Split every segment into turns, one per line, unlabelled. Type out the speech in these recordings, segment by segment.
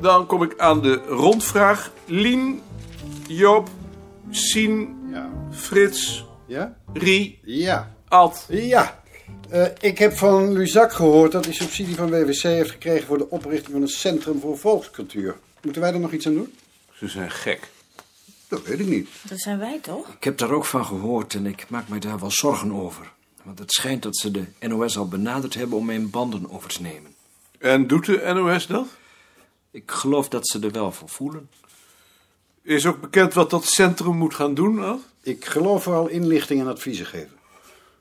dan kom ik aan de rondvraag. Lien, Joop, Sien,
Ja.
Frits,
Ja?
Rie,
Ja.
Ad.
Ja. Eh, ik heb van Luzak gehoord dat hij subsidie van WWC heeft gekregen voor de oprichting van een centrum voor volkscultuur. Moeten wij daar nog iets aan doen?
Ze zijn gek.
Dat weet ik niet.
Dat zijn wij toch?
Ik heb daar ook van gehoord en ik maak mij daar wel zorgen over. Want het schijnt dat ze de NOS al benaderd hebben om mijn banden over te nemen.
En doet de NOS dat?
Ik geloof dat ze er wel voor voelen.
Is ook bekend wat dat centrum moet gaan doen, Ad?
Ik geloof vooral inlichting en adviezen geven.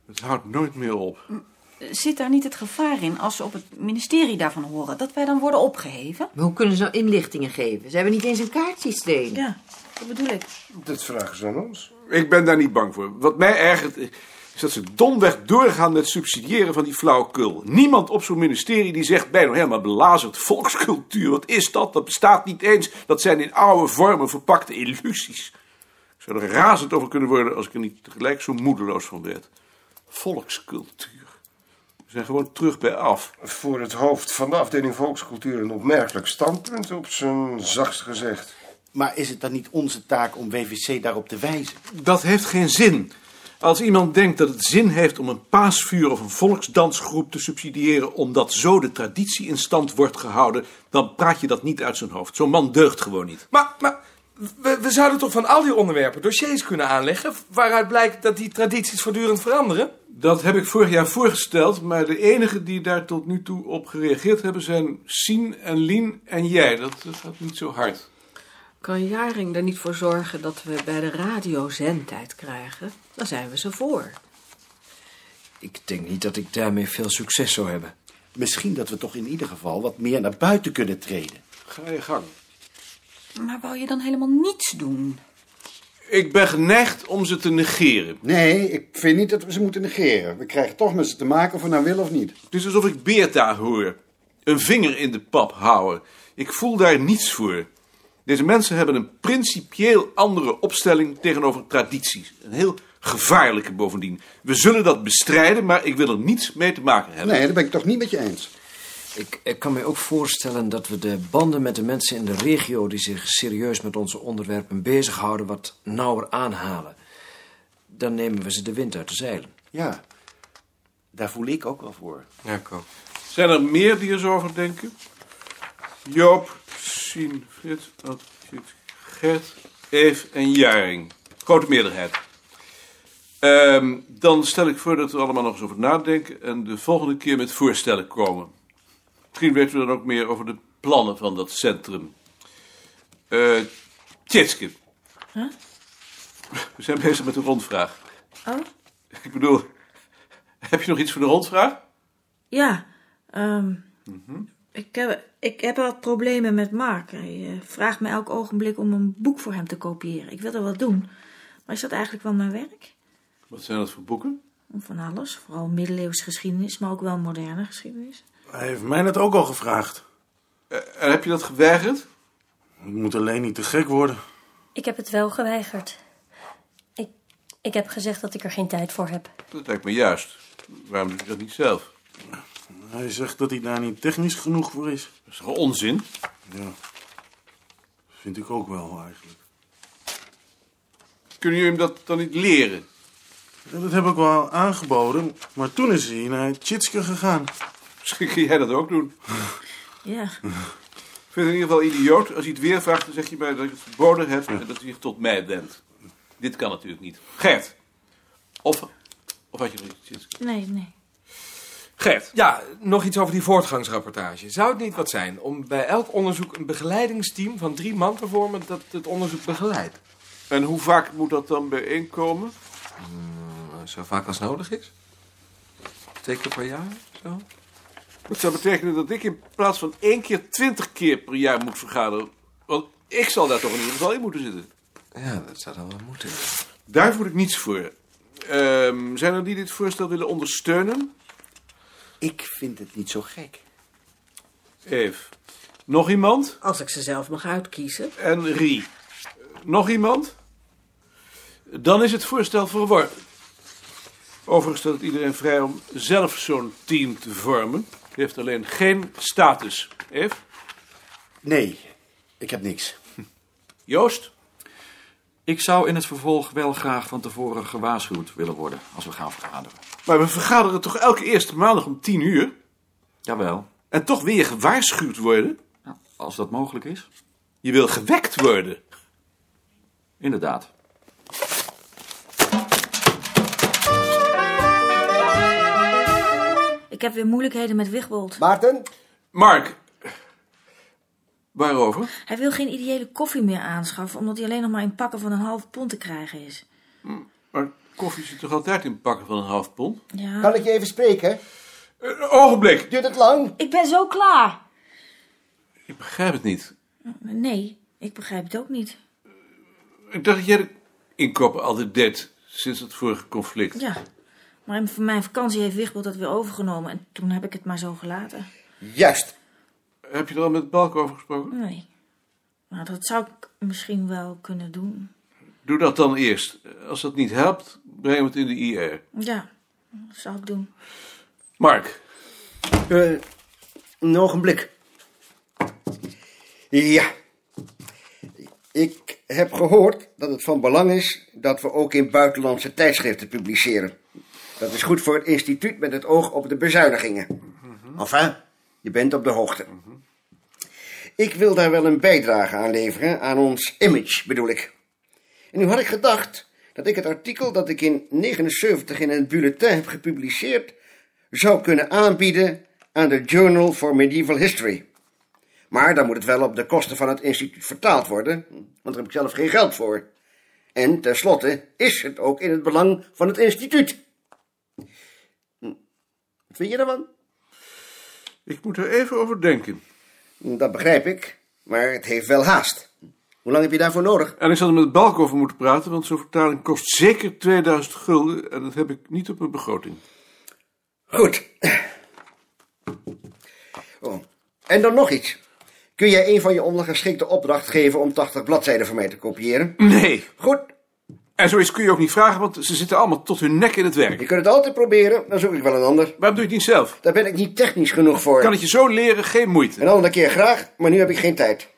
Het houdt nooit meer op.
Zit daar niet het gevaar in als ze op het ministerie daarvan horen dat wij dan worden opgeheven?
Maar hoe kunnen ze nou inlichtingen geven? Ze hebben niet eens een kaartsysteem.
Ja, dat bedoel ik.
Dat vragen ze aan ons.
Ik ben daar niet bang voor. Wat mij ergert is dat ze domweg doorgaan met subsidiëren van die flauwekul. Niemand op zo'n ministerie die zegt bijna helemaal belazerd volkscultuur. Wat is dat? Dat bestaat niet eens. Dat zijn in oude vormen verpakte illusies. Ik zou er razend over kunnen worden als ik er niet tegelijk zo moedeloos van werd. Volkscultuur. We zijn gewoon terug bij af.
Voor het hoofd van de afdeling volkscultuur een opmerkelijk standpunt, op zijn zachtst gezegd.
Maar is het dan niet onze taak om WVC daarop te wijzen?
Dat heeft geen zin. Als iemand denkt dat het zin heeft om een paasvuur of een volksdansgroep te subsidiëren, omdat zo de traditie in stand wordt gehouden, dan praat je dat niet uit zijn hoofd. Zo'n man deugt gewoon niet.
Maar, maar we, we zouden toch van al die onderwerpen dossiers kunnen aanleggen... waaruit blijkt dat die tradities voortdurend veranderen?
Dat heb ik vorig jaar voorgesteld, maar de enigen die daar tot nu toe op gereageerd hebben zijn Sien en Lien en jij. Dat, dat gaat niet zo hard.
Kan Jaring er niet voor zorgen dat we bij de radio zendtijd krijgen? Dan zijn we ze voor.
Ik denk niet dat ik daarmee veel succes zou hebben.
Misschien dat we toch in ieder geval wat meer naar buiten kunnen treden.
Ga je gang.
Maar wou je dan helemaal niets doen?
Ik ben geneigd om ze te negeren.
Nee, ik vind niet dat we ze moeten negeren. We krijgen toch met ze te maken of we nou willen of niet.
Het is alsof ik Beerta hoor. Een vinger in de pap houden. Ik voel daar niets voor. Deze mensen hebben een principieel andere opstelling tegenover tradities. Een heel gevaarlijke bovendien. We zullen dat bestrijden, maar ik wil er niets mee te maken hebben.
Nee, daar ben ik toch niet met je eens.
Ik, ik kan me ook voorstellen dat we de banden met de mensen in de regio die zich serieus met onze onderwerpen bezighouden, wat nauwer aanhalen. Dan nemen we ze de wind uit de zeilen.
Ja, daar voel ik ook wel voor.
Ja, kom.
Zijn er meer die er zo over denken? Joop, Sien, Frits, Ad, Jut, Gert, Eef en Jaring. Grote meerderheid. Ehm, dan stel ik voor dat we allemaal nog eens over nadenken en de volgende keer met voorstellen komen. Misschien weten we dan ook meer over de plannen van dat centrum. Eh Tjitske. We zijn bezig met een rondvraag.
Oh?
Ik bedoel, heb je nog iets voor de rondvraag?
Ja, ehm, ik, heb, ik heb wat problemen met Mark. Hij eh, vraagt me elk ogenblik om een boek voor hem te kopiëren. Ik wil er wat doen. Maar is dat eigenlijk wel mijn werk?
Wat zijn dat voor boeken?
Van alles, vooral middeleeuwse geschiedenis, maar ook wel moderne geschiedenis.
Hij heeft mij dat ook al gevraagd.
Eh, En heb je dat geweigerd?
Ik moet alleen niet te gek worden.
Ik heb het wel geweigerd. Ik, ik heb gezegd dat ik er geen tijd voor heb.
Dat lijkt me juist. Waarom doe je dat niet zelf?
Hij zegt dat hij daar niet technisch genoeg voor is.
Dat is toch onzin?
Ja, vind ik ook wel eigenlijk.
Kunnen jullie hem dat dan niet leren?
Ja, dat heb ik wel aangeboden, maar toen is hij naar Tjitske gegaan.
Misschien kun jij dat ook doen.
Ja,
Ik vind het in ieder geval idioot. Als hij het weer vraagt, dan zeg je mij dat ik het verboden heb en dat hij zich tot mij wendt. Dit kan natuurlijk niet. Gert. Of, of had je nog iets?
nee, nee.
Gert.
Ja, nog iets over die voortgangsrapportage. Zou het niet wat zijn om bij elk onderzoek een begeleidingsteam van drie man te vormen dat het onderzoek begeleidt?
En hoe vaak moet dat dan bijeenkomen?
Zo vaak als nodig is. Twee keer per jaar, zo.
Dat zou betekenen dat ik in plaats van één keer twintig keer per jaar moet vergaderen. Want ik zal daar toch in ieder geval in moeten zitten.
Ja, dat zou dan wel moeten.
Daar voel ik niets voor. Ehm, zijn er die dit voorstel willen ondersteunen?
Ik vind het niet zo gek.
Eve. Nog iemand?
Als ik ze zelf mag uitkiezen.
En Rie. Eh, Nog iemand? Dan is het voorstel verworpen. Overigens staat iedereen vrij om zelf zo'n team te vormen. Die heeft alleen geen status. Eve?
Nee, Ik heb niks.
Joost?
Ik zou in het vervolg wel graag van tevoren gewaarschuwd willen worden als we gaan vergaderen.
Maar we vergaderen toch elke eerste maandag om tien uur?
Jawel,
En toch wil je gewaarschuwd worden?
als dat mogelijk is.
Je wil gewekt worden.
Inderdaad.
Ik heb weer moeilijkheden met Wigbold.
Maarten? Mark. Waarover?
Hij wil geen ideële koffie meer aanschaffen, omdat hij alleen nog maar in pakken van een half pond te krijgen is.
Maar koffie zit toch altijd in pakken van een half pond?
Ja.
Kan ik je even spreken?
Een ogenblik.
Duurt het lang?
Ik ben zo klaar.
Ik begrijp het niet.
Nee, ik begrijp het ook niet.
Ik dacht dat jij de inkopen altijd deed sinds het vorige conflict.
Ja, maar in- van mijn vakantie heeft Wigbold dat weer overgenomen en toen heb ik het maar zo gelaten.
Juist. Heb je er al met Balk over gesproken?
Nee. Maar dat zou ik misschien wel kunnen doen.
Doe dat dan eerst. Als dat niet helpt, breng het in de IR.
Ja, dat zou ik doen.
Mark.
Eh, een ogenblik. Ja. Ik heb gehoord dat het van belang is dat we ook in buitenlandse tijdschriften publiceren. Dat is goed voor het instituut met het oog op de bezuinigingen. Enfin, je bent op de hoogte. Ik wil daar wel een bijdrage aan leveren, aan ons image bedoel ik. En nu had ik gedacht dat ik het artikel dat ik in 79 in een bulletin heb gepubliceerd zou kunnen aanbieden aan de Journal for Medieval History. Maar dan moet het wel op de kosten van het instituut vertaald worden, want daar heb ik zelf geen geld voor. En tenslotte is het ook in het belang van het instituut. Hm. Wat vind je daarvan?
Ik moet er even over denken.
Dat begrijp ik, maar het heeft wel haast. Hoe lang heb je daarvoor nodig?
En ik zal er met Balk over moeten praten, want zo'n vertaling kost zeker 2000 gulden. En dat heb ik niet op mijn begroting.
Goed. Oh. En dan nog iets. Kun jij een van je ondergeschikte opdracht geven om 80 bladzijden voor mij te kopiëren?
Nee.
Goed.
En zoiets kun je ook niet vragen, want ze zitten allemaal tot hun nek in het werk.
Je kunt het altijd proberen, dan zoek ik wel een ander.
Waarom doe je het niet zelf?
Daar ben ik niet technisch genoeg voor.
Kan het je zo leren, geen moeite.
Een andere keer graag, maar nu heb ik geen tijd.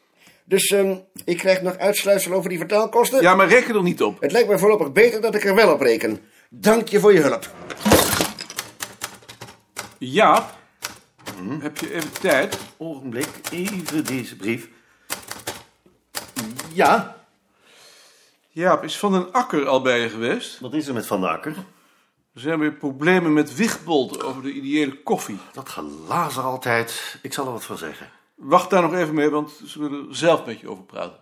Dus ehm, ik krijg nog uitsluitsel over die vertaalkosten.
Ja, maar reken er niet op.
Het lijkt me voorlopig beter dat ik er wel op reken. Dank je voor je hulp.
Jaap, heb je even tijd?
Mhm. Ogenblik, even deze brief. Ja?
Jaap, is Van den Akker al bij je geweest?
Wat is er met Van den Akker?
Er zijn weer problemen met Wigbold over de ideële koffie.
Dat gelazer altijd. Ik zal er wat van zeggen.
Wacht daar nog even mee, want ze willen er zelf met je over praten.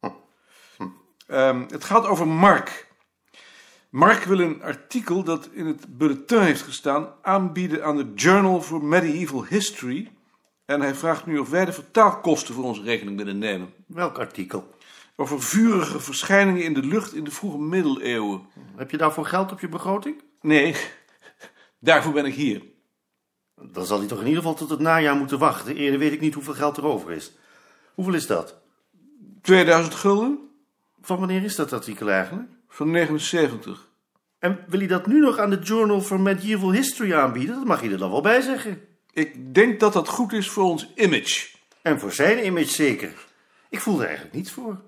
Hm.
Ehm, het gaat over Mark. Mark wil een artikel dat in het bulletin heeft gestaan aanbieden aan de Journal for Medieval History. En hij vraagt nu of wij de vertaalkosten voor onze rekening willen nemen.
Welk artikel?
Over vurige verschijningen in de lucht in de vroege middeleeuwen.
Heb je daarvoor geld op je begroting?
Nee, daarvoor ben ik hier.
Dan zal hij toch in ieder geval tot het najaar moeten wachten. Eerder weet ik niet hoeveel geld er over is. Hoeveel is dat?
2000 gulden.
Van wanneer is dat artikel eigenlijk?
Van 79.
En wil hij dat nu nog aan de Journal for Medieval History aanbieden? Dat mag hij er dan wel bij zeggen.
Ik denk dat dat goed is voor ons image.
En voor zijn image zeker. Ik voel er eigenlijk niets voor.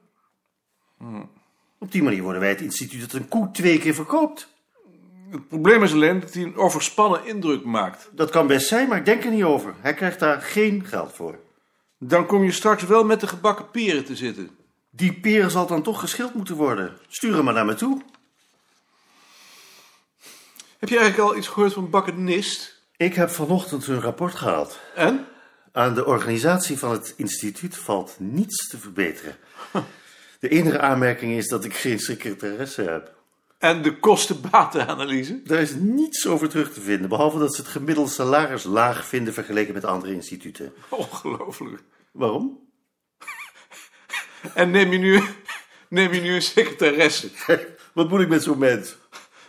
Hm.
Op die manier worden wij het instituut dat een koe twee keer verkoopt.
Het probleem is alleen dat hij een overspannen indruk maakt.
Dat kan best zijn, maar ik denk er niet over. Hij krijgt daar geen geld voor.
Dan kom je straks wel met de gebakken peren te zitten.
Die peren zal dan toch geschild moeten worden. Stuur hem maar naar me toe.
Heb je eigenlijk al iets gehoord van Bakkenist?
Ik heb vanochtend hun rapport gehaald.
En?
Aan de organisatie van het instituut valt niets te verbeteren. De enige aanmerking is dat ik geen secretaresse heb.
En de kosten-batenanalyse?
Daar is niets over terug te vinden, behalve dat ze het gemiddelde salaris laag vinden vergeleken met andere instituten.
Ongelooflijk.
Waarom?
En neem je nu, neem je nu een secretaresse?
Wat moet ik met zo'n mens?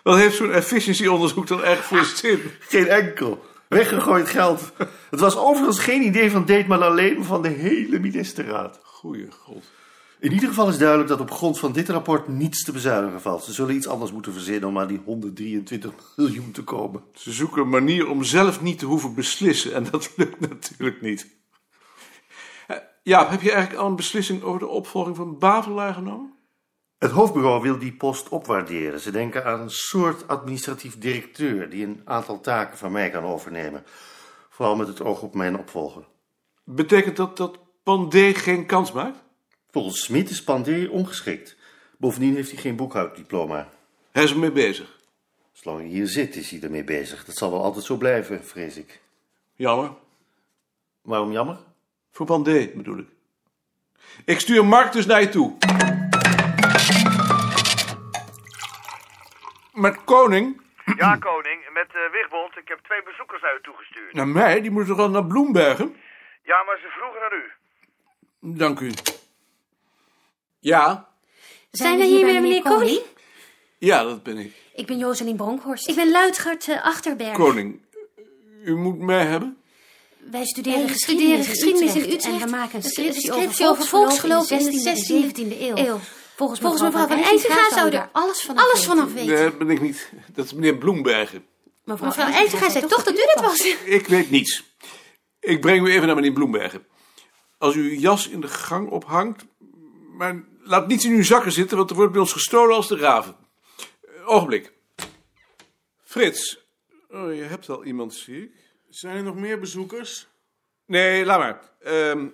Wat heeft zo'n efficiëntieonderzoek dan echt voor zin?
Geen enkel. Weggegooid geld. Het was overigens geen idee van Deetman alleen, van de hele ministerraad.
Goeie god.
In ieder geval is duidelijk dat op grond van dit rapport niets te bezuinigen valt. Ze zullen iets anders moeten verzinnen om aan die 123 miljoen te komen.
Ze zoeken een manier om zelf niet te hoeven beslissen. En dat lukt natuurlijk niet. Eh, Jaap, heb je eigenlijk al een beslissing over de opvolging van Bavelaar genomen?
Het hoofdbureau wil die post opwaarderen. Ze denken aan een soort administratief directeur die een aantal taken van mij kan overnemen. Vooral met het oog op mijn opvolger.
Betekent dat dat Pandé geen kans maakt?
Volgens Smit is Pandé ongeschikt. Bovendien heeft hij geen boekhouddiploma.
Hij is ermee bezig.
Zolang hij hier zit, is hij ermee bezig. Dat zal wel altijd zo blijven, vrees ik.
Jammer.
Waarom jammer?
Voor Pandé bedoel ik. Ik stuur Mark dus naar je toe. Met Koning?
Ja, koning. Met eh Wigbond. Ik heb twee bezoekers naar u toegestuurd.
Naar mij? Die moet toch wel naar Bloembergen?
Ja, maar ze vroegen naar u.
Dank u. Ja?
Zijn we hier bij meneer Koning?
Ja, dat ben ik.
Ik ben Joseline Bronkhorst. Ik ben Luidgert eh, Achterberg.
Koning, u moet mij hebben?
Wij studeren,
Wij
geschiedenis,
studeren
in Utrecht, en we maken een scriptie, over volksgeloof in de 16e en 17e eeuw. Volgens,
Volgens
mevrouw Van Eytinga zou daar
alles van
alles vanaf weten.
Nee, dat ben ik niet. Dat is meneer Bloembergen.
Mevrouw, mevrouw Eytinga zei toch dat u dat was.
Ik weet niets. Ik breng u even naar meneer Bloembergen. Als u uw jas in de gang ophangt... Maar laat niets in uw zakken zitten, want er wordt bij ons gestolen als de raven. Eh, Ogenblik. Frits. Oh, je hebt al iemand, zie ik.
Zijn er nog meer bezoekers?
Nee, laat maar. Ehm,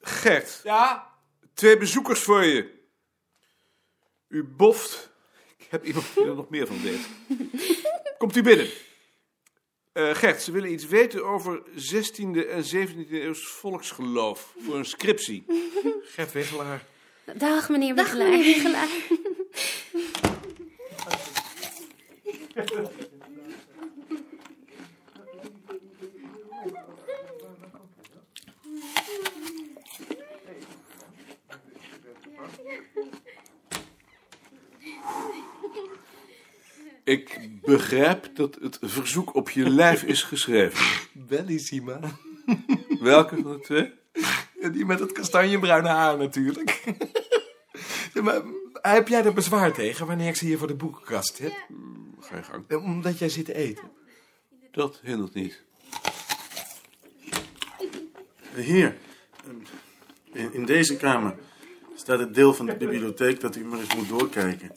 Gert.
Ja?
Twee bezoekers voor je. U boft. Ik heb iemand die er nog meer van deed. Komt u binnen. Eh, Gert, ze willen iets weten over 16e en 17e eeuws volksgeloof. Voor een scriptie. Gert Wegelaar.
Dag meneer
Dag,
Wiegelaar.
meneer Wiegelaar.
Ik begrijp dat het verzoek op je lijf is geschreven.
Bellissima.
Welke van de twee?
Die met het kastanjebruine haar natuurlijk. Ja, maar heb jij er bezwaar tegen wanneer ik ze hier voor de boekenkast heb?
Ga je gang.
Eh, Omdat jij zit te eten.
Dat hindert niet.
Hier, in, in deze kamer staat het deel van de bibliotheek dat u maar eens moet doorkijken.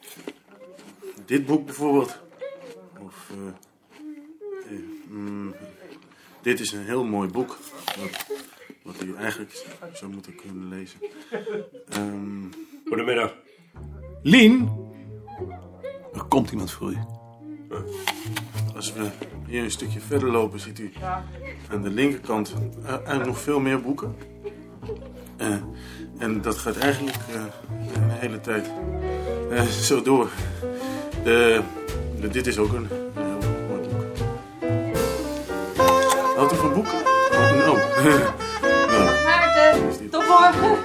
Dit boek bijvoorbeeld. Of, eh, eh, mm, dit is een heel mooi boek. Wat, wat u eigenlijk zou moeten kunnen lezen. Ehm,
Goedemiddag. Lien? Er komt iemand voor u.
Als we hier een stukje verder lopen, ziet u aan de linkerkant eh, eh, nog veel meer boeken. Eh, en dat gaat eigenlijk eh, een hele tijd eh, zo door. De, de- dit is ook een, een heel mooi boek. Houdt u van boeken? Oh, no.
Maarten, tot morgen.